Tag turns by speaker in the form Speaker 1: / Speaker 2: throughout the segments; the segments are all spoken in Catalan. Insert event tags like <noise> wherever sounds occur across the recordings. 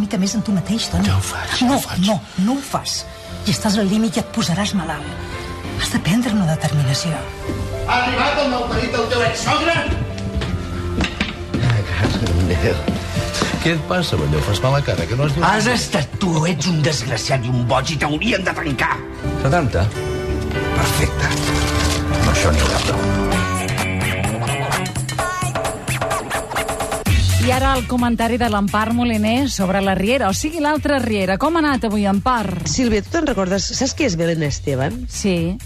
Speaker 1: interés en tu mateix, Toni.
Speaker 2: Ja ho faig, ja
Speaker 1: no,
Speaker 2: ho faig.
Speaker 1: No, no ho fas. I estàs al límit i et posaràs malalt. Has de prendre una determinació.
Speaker 3: Ha arribat el malparit del teu ex-sogre?
Speaker 2: <laughs> Què et passa, Balló? Fas mala cara, que no has dit...
Speaker 3: Has estat tu, ets un desgraciat i un boig i t'haurien de tancar.
Speaker 2: 70.
Speaker 3: Perfecte. No, això n'hi haurà prou.
Speaker 4: I ara el comentari de l'Empar Moliner sobre la Riera, o sigui, l'altra Riera. Com ha anat avui, Empar?
Speaker 5: Sílvia, tu te'n recordes? Saps qui és Belén Esteban?
Speaker 4: Sí.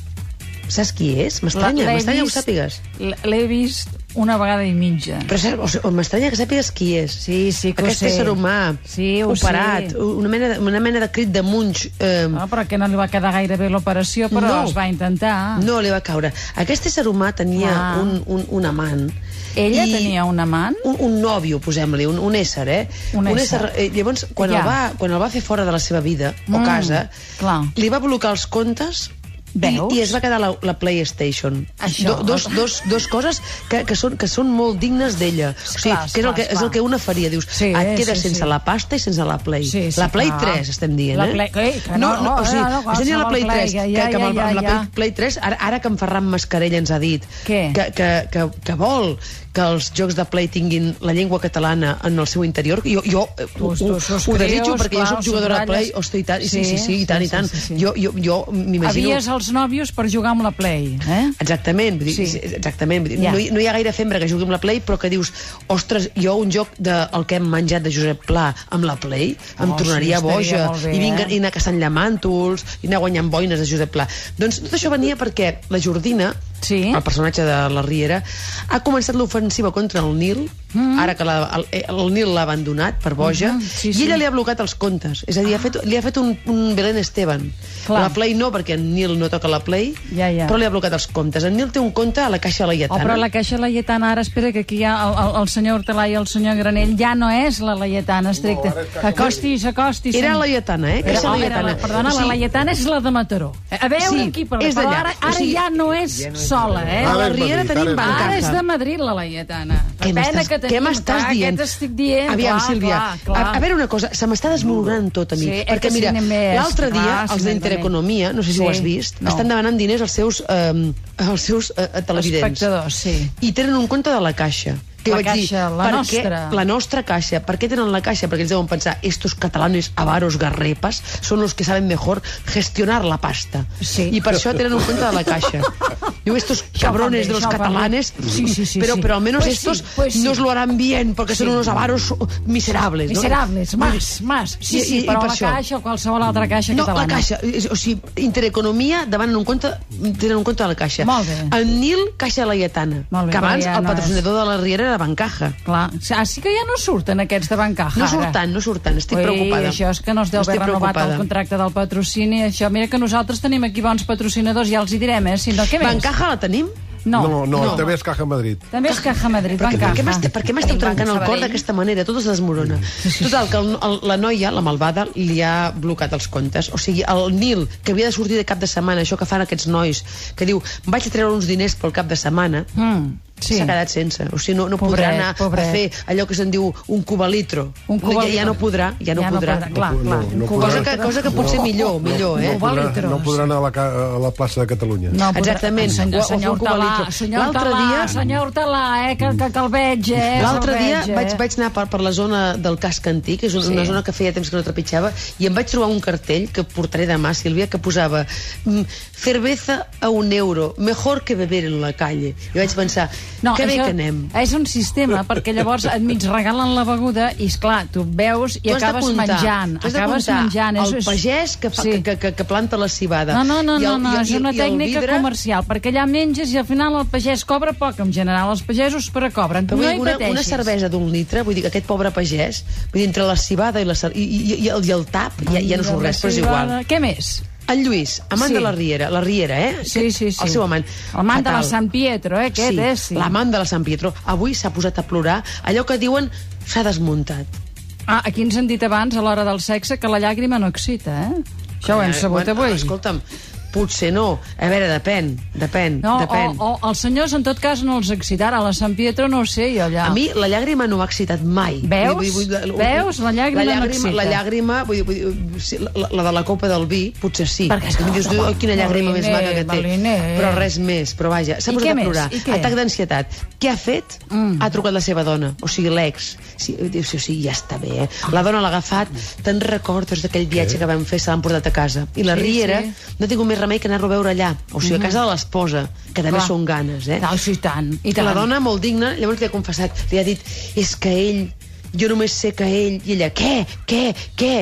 Speaker 5: Saps qui és? M'estranya,
Speaker 4: L'he
Speaker 5: m'estranya que ho
Speaker 4: vist-
Speaker 5: sàpigues.
Speaker 4: l- L'he vist una vegada i mitja.
Speaker 5: Però saps- o sigui, m'estranya que sàpigues qui és.
Speaker 4: Sí, sí que ho
Speaker 5: Aquest
Speaker 4: sé.
Speaker 5: ésser humà,
Speaker 4: Sí, ho
Speaker 5: operat,
Speaker 4: sé.
Speaker 5: una mena, de, una mena de crit de munx... Eh,
Speaker 4: Ah, però que no li va quedar gaire bé l'operació, però
Speaker 5: No.
Speaker 4: es va intentar.
Speaker 5: No li va caure. Aquest ésser humà tenia
Speaker 4: Clar.
Speaker 5: un, un, un amant.
Speaker 4: Ah. Ella tenia un amant?
Speaker 5: Un, un nòvio, posem-li, un, un ésser, eh?
Speaker 4: Un ésser.
Speaker 5: eh, llavors, quan,
Speaker 4: Ja.
Speaker 5: el va, quan el va fer fora de la seva vida,
Speaker 4: Mm,
Speaker 5: o casa,
Speaker 4: clar.
Speaker 5: li va blocar els comptes
Speaker 4: Veus?
Speaker 5: I, i es va quedar la, la PlayStation.
Speaker 4: Això.
Speaker 5: Do, dos, dos, dos coses que, que, són, que són molt dignes d'ella. O sigui,
Speaker 4: Esclar,
Speaker 5: que és, el
Speaker 4: esclar,
Speaker 5: que, és
Speaker 4: esclar.
Speaker 5: el que una faria. Dius,
Speaker 4: Sí,
Speaker 5: et quedes
Speaker 4: sí,
Speaker 5: sense
Speaker 4: sí.
Speaker 5: la pasta i sense la Play.
Speaker 4: Sí, sí,
Speaker 5: la Play
Speaker 4: clar.
Speaker 5: 3, estem dient,
Speaker 4: La
Speaker 5: eh?
Speaker 4: Play- Ei, que
Speaker 5: no,
Speaker 4: no,
Speaker 5: no, o sigui,
Speaker 4: no, no,
Speaker 5: no, no, la
Speaker 4: qualsevol
Speaker 5: Play 3,
Speaker 4: Play, ja,
Speaker 5: que,
Speaker 4: ja,
Speaker 5: que amb, el-
Speaker 4: ja,
Speaker 5: amb la
Speaker 4: ja.
Speaker 5: Play, Play 3, ara, ara que en Ferran Mascarell ens ha dit
Speaker 4: Què?
Speaker 5: Que, que, que, que vol que els jocs de Play tinguin la llengua catalana en el seu interior, jo, jo eh,
Speaker 4: Tu-
Speaker 5: ho,
Speaker 4: tu
Speaker 5: ho, ho
Speaker 4: subscrius,
Speaker 5: desitjo perquè
Speaker 4: clar,
Speaker 5: jo
Speaker 4: ho
Speaker 5: soc jugadora de Play,
Speaker 4: subratlles.
Speaker 5: hosti, i tant, i sí, sí, sí, i tant, i tant.
Speaker 4: sí, sí.
Speaker 5: Jo, jo, jo m'imagino...
Speaker 4: Havies els nòvios per jugar amb la Play, eh?
Speaker 5: Exactament, vull dir,
Speaker 4: Sí.
Speaker 5: sí. exactament. Vull dir,
Speaker 4: Ja.
Speaker 5: no, hi, no hi ha gaire fembre que jugui amb la Play, però que dius, ostres, jo un joc del el que hem menjat de Josep Pla amb la Play em
Speaker 4: Oh,
Speaker 5: tornaria
Speaker 4: sí, estaria
Speaker 5: boja
Speaker 4: molt bé,
Speaker 5: i, vinga,
Speaker 4: eh?
Speaker 5: i anar caçant llamàntols i anar guanyant boines de Josep Pla. Doncs tot això venia perquè la Jordina,
Speaker 4: Sí.
Speaker 5: el personatge de la Riera, ha començat l'ofensiva contra el Nil, mm. ara que la, el, el Nil l'ha abandonat per boja,
Speaker 4: Mhm, sí,
Speaker 5: i
Speaker 4: sí. Ah.
Speaker 5: ella li ha blocat els comptes. És a dir, ha fet, li ha fet un, un Belén Esteban.
Speaker 4: Clar.
Speaker 5: La Play no, perquè en Nil no toca la Play,
Speaker 4: Ja, ja.
Speaker 5: però li ha blocat els comptes. En Nil té un compte a la Caixa de la
Speaker 4: Oh,
Speaker 5: Lletana.
Speaker 4: però la Caixa Laietana, ara espera que aquí hi ha el, el, el senyor Hortelà i el senyor Granell, ja no és la Laietana estricta. No, acostis, acostis.
Speaker 5: Era la Laietana, eh?
Speaker 4: Era,
Speaker 5: Caixa
Speaker 4: oh, era
Speaker 5: Laietana.
Speaker 4: la, perdona,
Speaker 5: O
Speaker 4: la
Speaker 5: sigui,
Speaker 4: Laietana és la de Mataró. eh, A veure
Speaker 5: Sí,
Speaker 4: aquí, per
Speaker 5: és
Speaker 4: però
Speaker 5: d'allà.
Speaker 4: ara,
Speaker 5: O
Speaker 4: ara
Speaker 5: sigui,
Speaker 4: ja no és sola, eh?
Speaker 5: A
Speaker 4: Ara,
Speaker 5: la
Speaker 6: és
Speaker 5: Riera
Speaker 6: Madrid,
Speaker 5: tenim
Speaker 6: ara
Speaker 5: pancarta.
Speaker 4: és de Madrid, la Laietana.
Speaker 5: Què
Speaker 4: Pena
Speaker 5: m'estàs-
Speaker 4: que tenim,
Speaker 5: Què m'estàs
Speaker 4: clar,
Speaker 5: dient?
Speaker 4: Què t'estic dient?
Speaker 5: Aviam,
Speaker 4: clar,
Speaker 5: Sílvia,
Speaker 4: Clar, clar.
Speaker 5: A, a veure una cosa, se m'està desmoronant tot a mi.
Speaker 4: Sí, és
Speaker 5: perquè
Speaker 4: que
Speaker 5: mira,
Speaker 4: sí, anem més,
Speaker 5: l'altre
Speaker 4: clar,
Speaker 5: dia
Speaker 4: sí,
Speaker 5: els
Speaker 4: anem
Speaker 5: d'Intereconomia,
Speaker 4: més.
Speaker 5: no sé si ho
Speaker 4: Sí,
Speaker 5: has vist,
Speaker 4: no.
Speaker 5: estan demanant diners als seus, eh, als seus eh, televidents.
Speaker 4: Espectadors, sí.
Speaker 5: I tenen un compte de la Caixa. Que
Speaker 4: La
Speaker 5: jo vaig
Speaker 4: Caixa,
Speaker 5: dir,
Speaker 4: la
Speaker 5: per
Speaker 4: nostra.
Speaker 5: Què, la nostra Caixa. Per què tenen la Caixa? Perquè ells deuen pensar, estos catalanes avaros garrepas són los que saben mejor gestionar la pasta.
Speaker 4: Sí.
Speaker 5: I per això tenen un compte de la Caixa. Diu, estos cabrones de los
Speaker 4: això va bé.
Speaker 5: catalanes,
Speaker 4: Sí, sí, sí,
Speaker 5: però,
Speaker 4: sí.
Speaker 5: però almenys
Speaker 4: Pues sí,
Speaker 5: estos
Speaker 4: pues sí.
Speaker 5: nos lo harán bien, porque són unos avaros miserables. no?
Speaker 4: Miserables, mas, mas. Sí,
Speaker 5: I-
Speaker 4: sí,
Speaker 5: i- i
Speaker 4: però
Speaker 5: per
Speaker 4: la
Speaker 5: això. Mm.
Speaker 4: Caixa o qualsevol altra Caixa
Speaker 5: No,
Speaker 4: catalana.
Speaker 5: la Caixa. És- O sigui, Intereconomia demanen un compte, tenen un compte de la Caixa.
Speaker 4: Molt bé.
Speaker 5: El Nil, Caixa Laietana.
Speaker 4: Molt bé,
Speaker 5: que
Speaker 4: però
Speaker 5: abans
Speaker 4: ja
Speaker 5: el
Speaker 4: no és.
Speaker 5: patrocinador de la Riera era Bancaja.
Speaker 4: Clar. Ah, sí que ja no surten aquests de bancaja.
Speaker 5: No
Speaker 4: ara.
Speaker 5: surt tant, no surt tant, estic
Speaker 4: Ui,
Speaker 5: preocupada.
Speaker 4: Això és que no es deu haver
Speaker 5: Estic
Speaker 4: renovat
Speaker 5: preocupada.
Speaker 4: el contracte del patrocini. Això, mira que nosaltres tenim aquí bons patrocinadors, ja els hi direm, eh? Si no, què més?
Speaker 5: Bancaja la tenim?
Speaker 4: No.
Speaker 6: No, no,
Speaker 5: No.
Speaker 6: també és Caja Madrid.
Speaker 4: També és Caja Madrid,
Speaker 5: Per
Speaker 4: Bancaja.
Speaker 5: què m'esteu- per què m'esteu trencant el cor d'aquesta manera? Tot es desmorona. Total, que el, el, la noia, la malvada, li ha blocat els comptes. O sigui, el Nil, que havia de sortir de cap de setmana, això que fan aquests nois, que diu, vaig a treure uns diners pel cap de setmana,
Speaker 4: Mm, sí.
Speaker 5: s'ha quedat sense. O sigui, no, no
Speaker 4: Pobret,
Speaker 5: podrà anar
Speaker 4: pobret.
Speaker 5: a fer allò que se'n diu un cubalitro.
Speaker 4: Un cubalitro.
Speaker 5: Ja, ja no podrà, ja no podrà.
Speaker 4: Clar, clar.
Speaker 6: No, no
Speaker 4: Un
Speaker 6: podrà.
Speaker 5: Cosa que, cosa que potser millor, millor, eh?
Speaker 4: no podrà.
Speaker 6: Podrà,
Speaker 4: Litros.
Speaker 6: no podrà anar a la, ca- a la plaça de Catalunya.
Speaker 4: No podrà-
Speaker 5: Exactament.
Speaker 4: Senyor,
Speaker 5: O- o
Speaker 4: senyor
Speaker 5: un
Speaker 4: Hortalà,
Speaker 5: cubalitro.
Speaker 4: senyor
Speaker 5: L'altre
Speaker 4: Hortalà,
Speaker 5: dia-
Speaker 4: senyor Hortalà, eh, que, que, que el veig, eh?
Speaker 5: L'altre
Speaker 4: el
Speaker 5: dia
Speaker 4: veig, eh?
Speaker 5: vaig, vaig anar per, per la zona del casc antic, és una, sí. una zona que feia temps que no trepitjava, i em vaig trobar un cartell que portaré demà, Sílvia, que posava mm, cerveza a un euro, mejor que beber en la calle. I vaig pensar, no, que bé que anem.
Speaker 4: És un sistema, perquè llavors et mig regalen la beguda i, esclar, tu beus i
Speaker 5: Tu has
Speaker 4: acabes
Speaker 5: d'apuntar,
Speaker 4: menjant.
Speaker 5: tu has
Speaker 4: Acabes
Speaker 5: d'apuntar
Speaker 4: menjant. És-
Speaker 5: El
Speaker 4: és-
Speaker 5: pagès que, fa, sí. que, que, que planta la cibada.
Speaker 4: No, no, no,
Speaker 5: I
Speaker 4: no,
Speaker 5: el-
Speaker 4: no,
Speaker 5: i-
Speaker 4: és
Speaker 5: i-
Speaker 4: una
Speaker 5: i el
Speaker 4: tècnica
Speaker 5: vidre-
Speaker 4: comercial, perquè allà menges i al final el pagès cobra poc, en general els pagesos però cobren, no
Speaker 5: Però vull dir,
Speaker 4: hi
Speaker 5: una,
Speaker 4: pateixis.
Speaker 5: una cervesa d'un litre, vull dir, aquest pobre pagès, vull dir, entre la cibada i, la, cer- i, i, i, el, i el tap, ja, ja no surt res, però és igual.
Speaker 4: Què més?
Speaker 5: En Lluís,
Speaker 4: Sí.
Speaker 5: amant sí. de la Riera, la Riera, eh?
Speaker 4: Sí, sí, sí.
Speaker 5: El seu amant.
Speaker 4: El amant de la
Speaker 5: Fatal.
Speaker 4: San Pietro, eh, aquest,
Speaker 5: sí,
Speaker 4: eh, sí.
Speaker 5: L'amant de la Sant Pietro. Avui s'ha posat a plorar. Allò que diuen s'ha desmuntat.
Speaker 4: Ah, aquí ens han dit abans, a l'hora del sexe, que la llàgrima no excita, eh? Això ho hem sabut
Speaker 5: Bueno,
Speaker 4: avui.
Speaker 5: Escolta'm, Potser no. A veure, depèn, depèn,
Speaker 4: No,
Speaker 5: depèn.
Speaker 4: o, o els senyors en tot cas no els excitarà, a la Sant Pietro no ho sé jo allà.
Speaker 5: A mi la llàgrima no m'ha excitat mai.
Speaker 4: Veus? Veus? La llàgrima
Speaker 5: la llàgrima,
Speaker 4: m'excita.
Speaker 5: la llàgrima vull dir, vull dir, sí, la, la, de la copa del vi, potser sí.
Speaker 4: Perquè és que-
Speaker 5: dius, tu, oh, quina llàgrima més
Speaker 4: Mariner,
Speaker 5: maca que té.
Speaker 4: Mariner.
Speaker 5: Però res més, però vaja, s'ha
Speaker 4: eh? I
Speaker 5: posat
Speaker 4: què
Speaker 5: a
Speaker 4: més?
Speaker 5: plorar.
Speaker 4: I què? Mm.
Speaker 5: Atac d'ansietat. Què ha fet? Ha trucat la seva dona, o sigui, l'ex. Sí, eh, diu, sí, sí, ja està bé, eh? La dona l'ha agafat, te'n recordes d'aquell viatge que vam fer, se l'han portat a casa. I la
Speaker 4: Sí,
Speaker 5: Riera
Speaker 4: sí. Mm.
Speaker 5: no ha tingut més remei que anar-lo a veure allà, o sigui, a casa de l'esposa, que també
Speaker 4: Clar.
Speaker 5: són ganes, eh?
Speaker 4: No, sí, i tant, i
Speaker 5: I que
Speaker 4: tant.
Speaker 5: la dona, molt digna, llavors li ha confessat, li ha dit, és que ell, jo només sé que ell, i ella, què, què, què?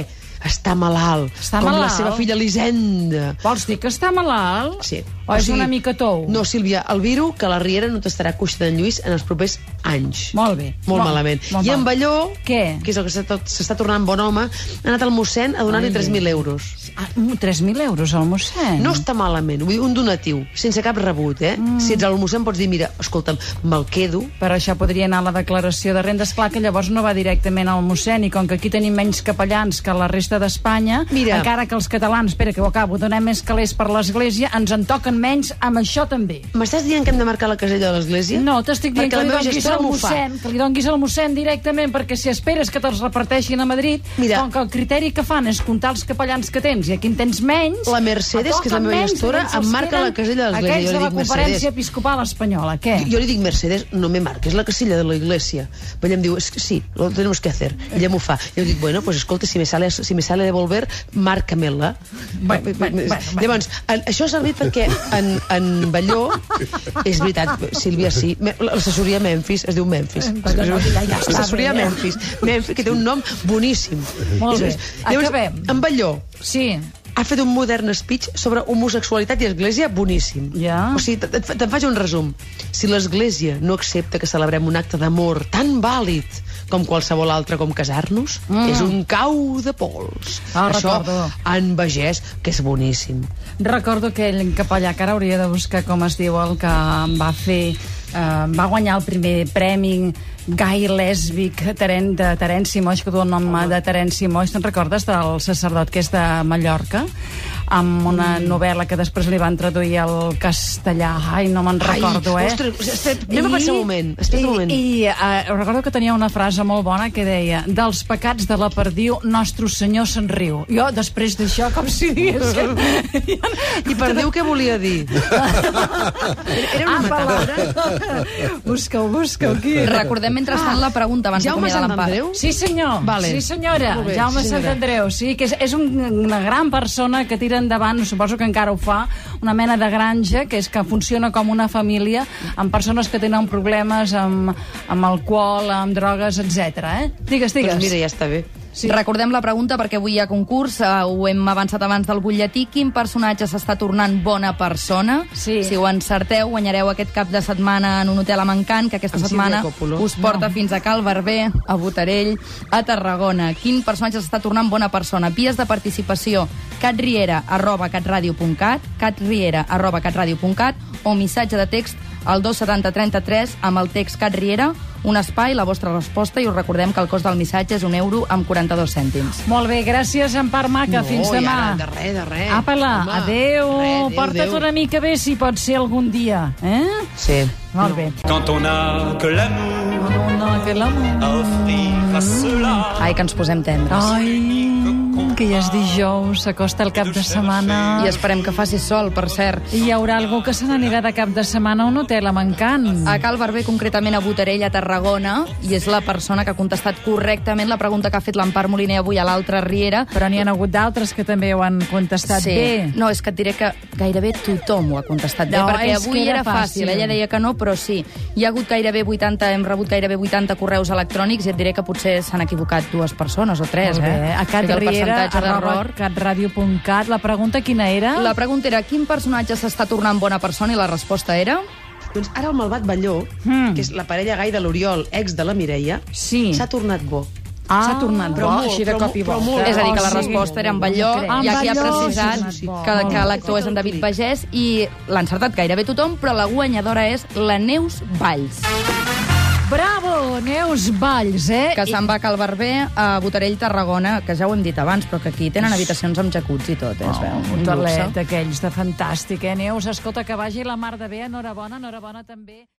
Speaker 5: Està malalt,
Speaker 4: Està
Speaker 5: com la
Speaker 4: malalt?
Speaker 5: seva filla Elisenda.
Speaker 4: Vols dir que està malalt?
Speaker 5: Sí.
Speaker 4: O és una mica tou?
Speaker 5: No, Sílvia, el virus que la Riera no t'estarà coixa d'en Lluís en els propers anys.
Speaker 4: Molt bé.
Speaker 5: Molt
Speaker 4: Molt-
Speaker 5: malament.
Speaker 4: molt
Speaker 5: I
Speaker 4: mal.
Speaker 5: en Balló,
Speaker 4: Què?
Speaker 5: que és el que s'ha tot- s'està tornant bon home, ha anat al mossèn a donar-li 3.000 euros.
Speaker 4: Ah, mm. 3.000 euros al mossèn?
Speaker 5: No està malament, vull dir, un donatiu, sense cap rebut, eh? Mm. Si ets al mossèn pots dir, mira, escolta'm, me'l quedo,
Speaker 4: Per això podria anar a la declaració de rendes. Clar que llavors no va directament al mossèn i com que aquí tenim menys capellans que la resta d'Espanya,
Speaker 5: Mira.
Speaker 4: encara que els catalans, espera que ho acabo, donem més calés per l'església, ens en toquen menys amb això també.
Speaker 5: M'estàs dient que hem de marcar la casella de l'església?
Speaker 4: No, t'estic dient
Speaker 5: Perquè
Speaker 4: que
Speaker 5: la
Speaker 4: li
Speaker 5: meva
Speaker 4: donguis
Speaker 5: gestora
Speaker 4: al
Speaker 5: m'ho fa.
Speaker 4: mossèn, que li donguis al mossèn directament, perquè si esperes que te'ls reparteixin a Madrid,
Speaker 5: Mira.
Speaker 4: com que el criteri que fan és comptar els capellans que tens i a qui en tens menys...
Speaker 5: La Mercedes,
Speaker 4: et
Speaker 5: que és la meva
Speaker 4: toquen menys,
Speaker 5: gestora,
Speaker 4: aquells els
Speaker 5: em marca
Speaker 4: tenen
Speaker 5: la casella de l'església, jo
Speaker 4: Aquells
Speaker 5: li
Speaker 4: de la
Speaker 5: dic
Speaker 4: conferència
Speaker 5: Mercedes.
Speaker 4: episcopal espanyola, què?
Speaker 5: Eh, Jo li dic, Mercedes, no me marques la casilla de la iglesia. Però ella em diu, es que sí, lo tenemos que hacer. I Ella m'ho fa. Jo dic, bueno, pues escolta, si me sale, si me sale de volver, márcamela.
Speaker 4: Bueno, bueno, bueno, bueno.
Speaker 5: Llavors, en, això ha servit perquè en, en Balló, és veritat, Sílvia, sí, me- l'assessoria Memphis, es diu Memphis.
Speaker 4: Però no, ja, ja està
Speaker 5: L'assessoria
Speaker 4: bé, eh?
Speaker 5: Memphis, Memphis, que té un nom boníssim.
Speaker 4: Molt bé.
Speaker 5: Llavors,
Speaker 4: Acabem.
Speaker 5: en Balló,
Speaker 4: Sí.
Speaker 5: ha fet un modern speech sobre homosexualitat i església boníssim.
Speaker 4: Ja.
Speaker 5: O sigui, te- te- te'n faig un resum. Si l'església no accepta que celebrem un acte d'amor tan vàlid com qualsevol altre com casar-nos, mm. és un cau de pols.
Speaker 4: Ah,
Speaker 5: Això
Speaker 4: recordo.
Speaker 5: en Vegès, que és boníssim.
Speaker 4: Recordo aquell capellà que ara hauria de buscar com es diu el que em va fer eh, em va guanyar el primer premi gai lèsbic Teren, de Terenci Moix, que du el nom de Terenci Moix. Te'n recordes del sacerdot que és de Mallorca? amb una
Speaker 5: Mm.
Speaker 4: novel·la que després li van traduir al castellà. Ai, no me'n
Speaker 5: Ai,
Speaker 4: recordo, eh?
Speaker 5: ostres, espera, anem a passar un moment, espera
Speaker 4: i,
Speaker 5: un moment.
Speaker 4: I eh, recordo que tenia una frase molt bona que deia dels pecats de la perdiu, nostre senyor se'n riu. Jo, després d'això, com si <laughs> digués...
Speaker 5: I per Déu què volia dir?
Speaker 4: <laughs>
Speaker 5: Ah,
Speaker 4: Era una metàfora. Busca-ho, busca-ho aquí.
Speaker 7: Recordem mentrestant la pregunta abans
Speaker 5: Jaume
Speaker 7: d'acomiadar
Speaker 5: Sant
Speaker 7: l'Empar.
Speaker 5: Andreu?
Speaker 4: Sí, senyor.
Speaker 5: Vale.
Speaker 4: Sí, senyora.
Speaker 5: Molt bé,
Speaker 4: Jaume
Speaker 5: sí, senyora.
Speaker 4: Sant Andreu, sí, que és, és un, una gran persona que tira endavant, suposo que encara ho fa, una mena de granja, que és que funciona com una família amb persones que tenen problemes amb, amb alcohol, amb drogues, etc. Eh? Digues, digues.
Speaker 5: Doncs mira, ja està bé.
Speaker 7: Sí. Recordem la pregunta perquè avui hi ha concurs, eh, ho hem avançat abans del butlletí. Quin personatge s'està tornant bona persona?
Speaker 4: Sí.
Speaker 7: Si ho encerteu, guanyareu aquest cap de setmana en un hotel a Mancant, que aquesta
Speaker 5: Amb Sílvia
Speaker 7: setmana
Speaker 5: Coppola.
Speaker 7: us porta no. fins a Cal Barber, a Botarell, a Tarragona. Quin personatge s'està tornant bona persona? Vies de participació, catriera arroba catradio.cat, catriera arroba catradio.cat o missatge de text al 27033 amb el text Cat Riera, un espai, la vostra resposta i us recordem que el cost del missatge és un euro amb 42 cèntims.
Speaker 4: Molt bé, gràcies, Empar Maca. Fins
Speaker 5: i ara,
Speaker 4: demà.
Speaker 5: de res, de res.
Speaker 4: Apa-la,
Speaker 5: Home,
Speaker 4: adéu.
Speaker 5: res, adéu,
Speaker 4: Porta't
Speaker 5: adéu.
Speaker 4: una mica bé, si pot ser algun dia. Eh?
Speaker 5: Sí.
Speaker 4: Molt bé.
Speaker 8: Quand on a que l'amour
Speaker 4: No, no, que l'amo...
Speaker 8: à offrir à ceux-là
Speaker 7: Ai, que ens posem tendres.
Speaker 4: Ai, que ja és dijous, s'acosta el cap de setmana.
Speaker 7: I esperem que faci sol, per cert.
Speaker 4: I hi haurà algú que se n'anirà de cap de setmana a un hotel amb encant.
Speaker 7: A Cal Barber, concretament a Botarell, a Tarragona, i és la persona que ha contestat correctament la pregunta que ha fet l'Empar Moliner avui a l'altra Riera.
Speaker 4: Però n'hi ha hagut d'altres que també ho han contestat bé.
Speaker 7: No, és que et diré que gairebé tothom ho ha contestat bé,
Speaker 4: No,
Speaker 7: perquè
Speaker 4: és que
Speaker 7: avui
Speaker 4: era
Speaker 7: era fàcil.
Speaker 4: fàcil.
Speaker 7: Ella deia que no, però sí. Hi ha hagut gairebé 80, hem rebut gairebé 80 correus electrònics i et diré que potser s'han equivocat dues persones o tres,
Speaker 4: Molt bé.
Speaker 7: eh?
Speaker 4: A
Speaker 7: Vull dir, el
Speaker 4: catriera,
Speaker 7: percentatge
Speaker 4: arroba
Speaker 7: d'error...
Speaker 4: catradio.cat. La pregunta quina era?
Speaker 7: La pregunta era quin personatge s'està tornant bona persona i la resposta era...
Speaker 5: Doncs ara el malvat Balló,
Speaker 4: Mm.
Speaker 5: mm. que és la parella gai de l'Oriol, ex de la Mireia,
Speaker 4: Sí.
Speaker 5: s'ha tornat bo.
Speaker 4: Ah,
Speaker 7: s'ha tornat
Speaker 4: però
Speaker 7: bo,
Speaker 4: molt,
Speaker 7: així
Speaker 4: de
Speaker 5: però
Speaker 4: cop i
Speaker 5: molt, però
Speaker 4: volta.
Speaker 5: molt.
Speaker 7: És a dir, que
Speaker 4: Oh,
Speaker 7: la
Speaker 4: sí.
Speaker 7: resposta era en Balló,
Speaker 4: En
Speaker 7: i aquí ha
Speaker 4: Balló,
Speaker 7: precisat
Speaker 4: sí, sí, sí.
Speaker 7: que,
Speaker 4: Molt
Speaker 7: que
Speaker 4: bé.
Speaker 7: l'actor és en David Pagès i l'ha encertat gairebé tothom, però la guanyadora és la Neus Valls.
Speaker 4: Bravo, Neus Valls, eh?
Speaker 7: Que se'n va a Cal Barber, a Botarell, Tarragona, que ja ho hem dit abans, però que aquí tenen habitacions amb jacuzzi i tot, eh, es veu.
Speaker 4: Oh, Un hotelet aquells de fantàstic, eh, Neus? Escolta, que vagi la mar de bé, enhorabona, enhorabona també.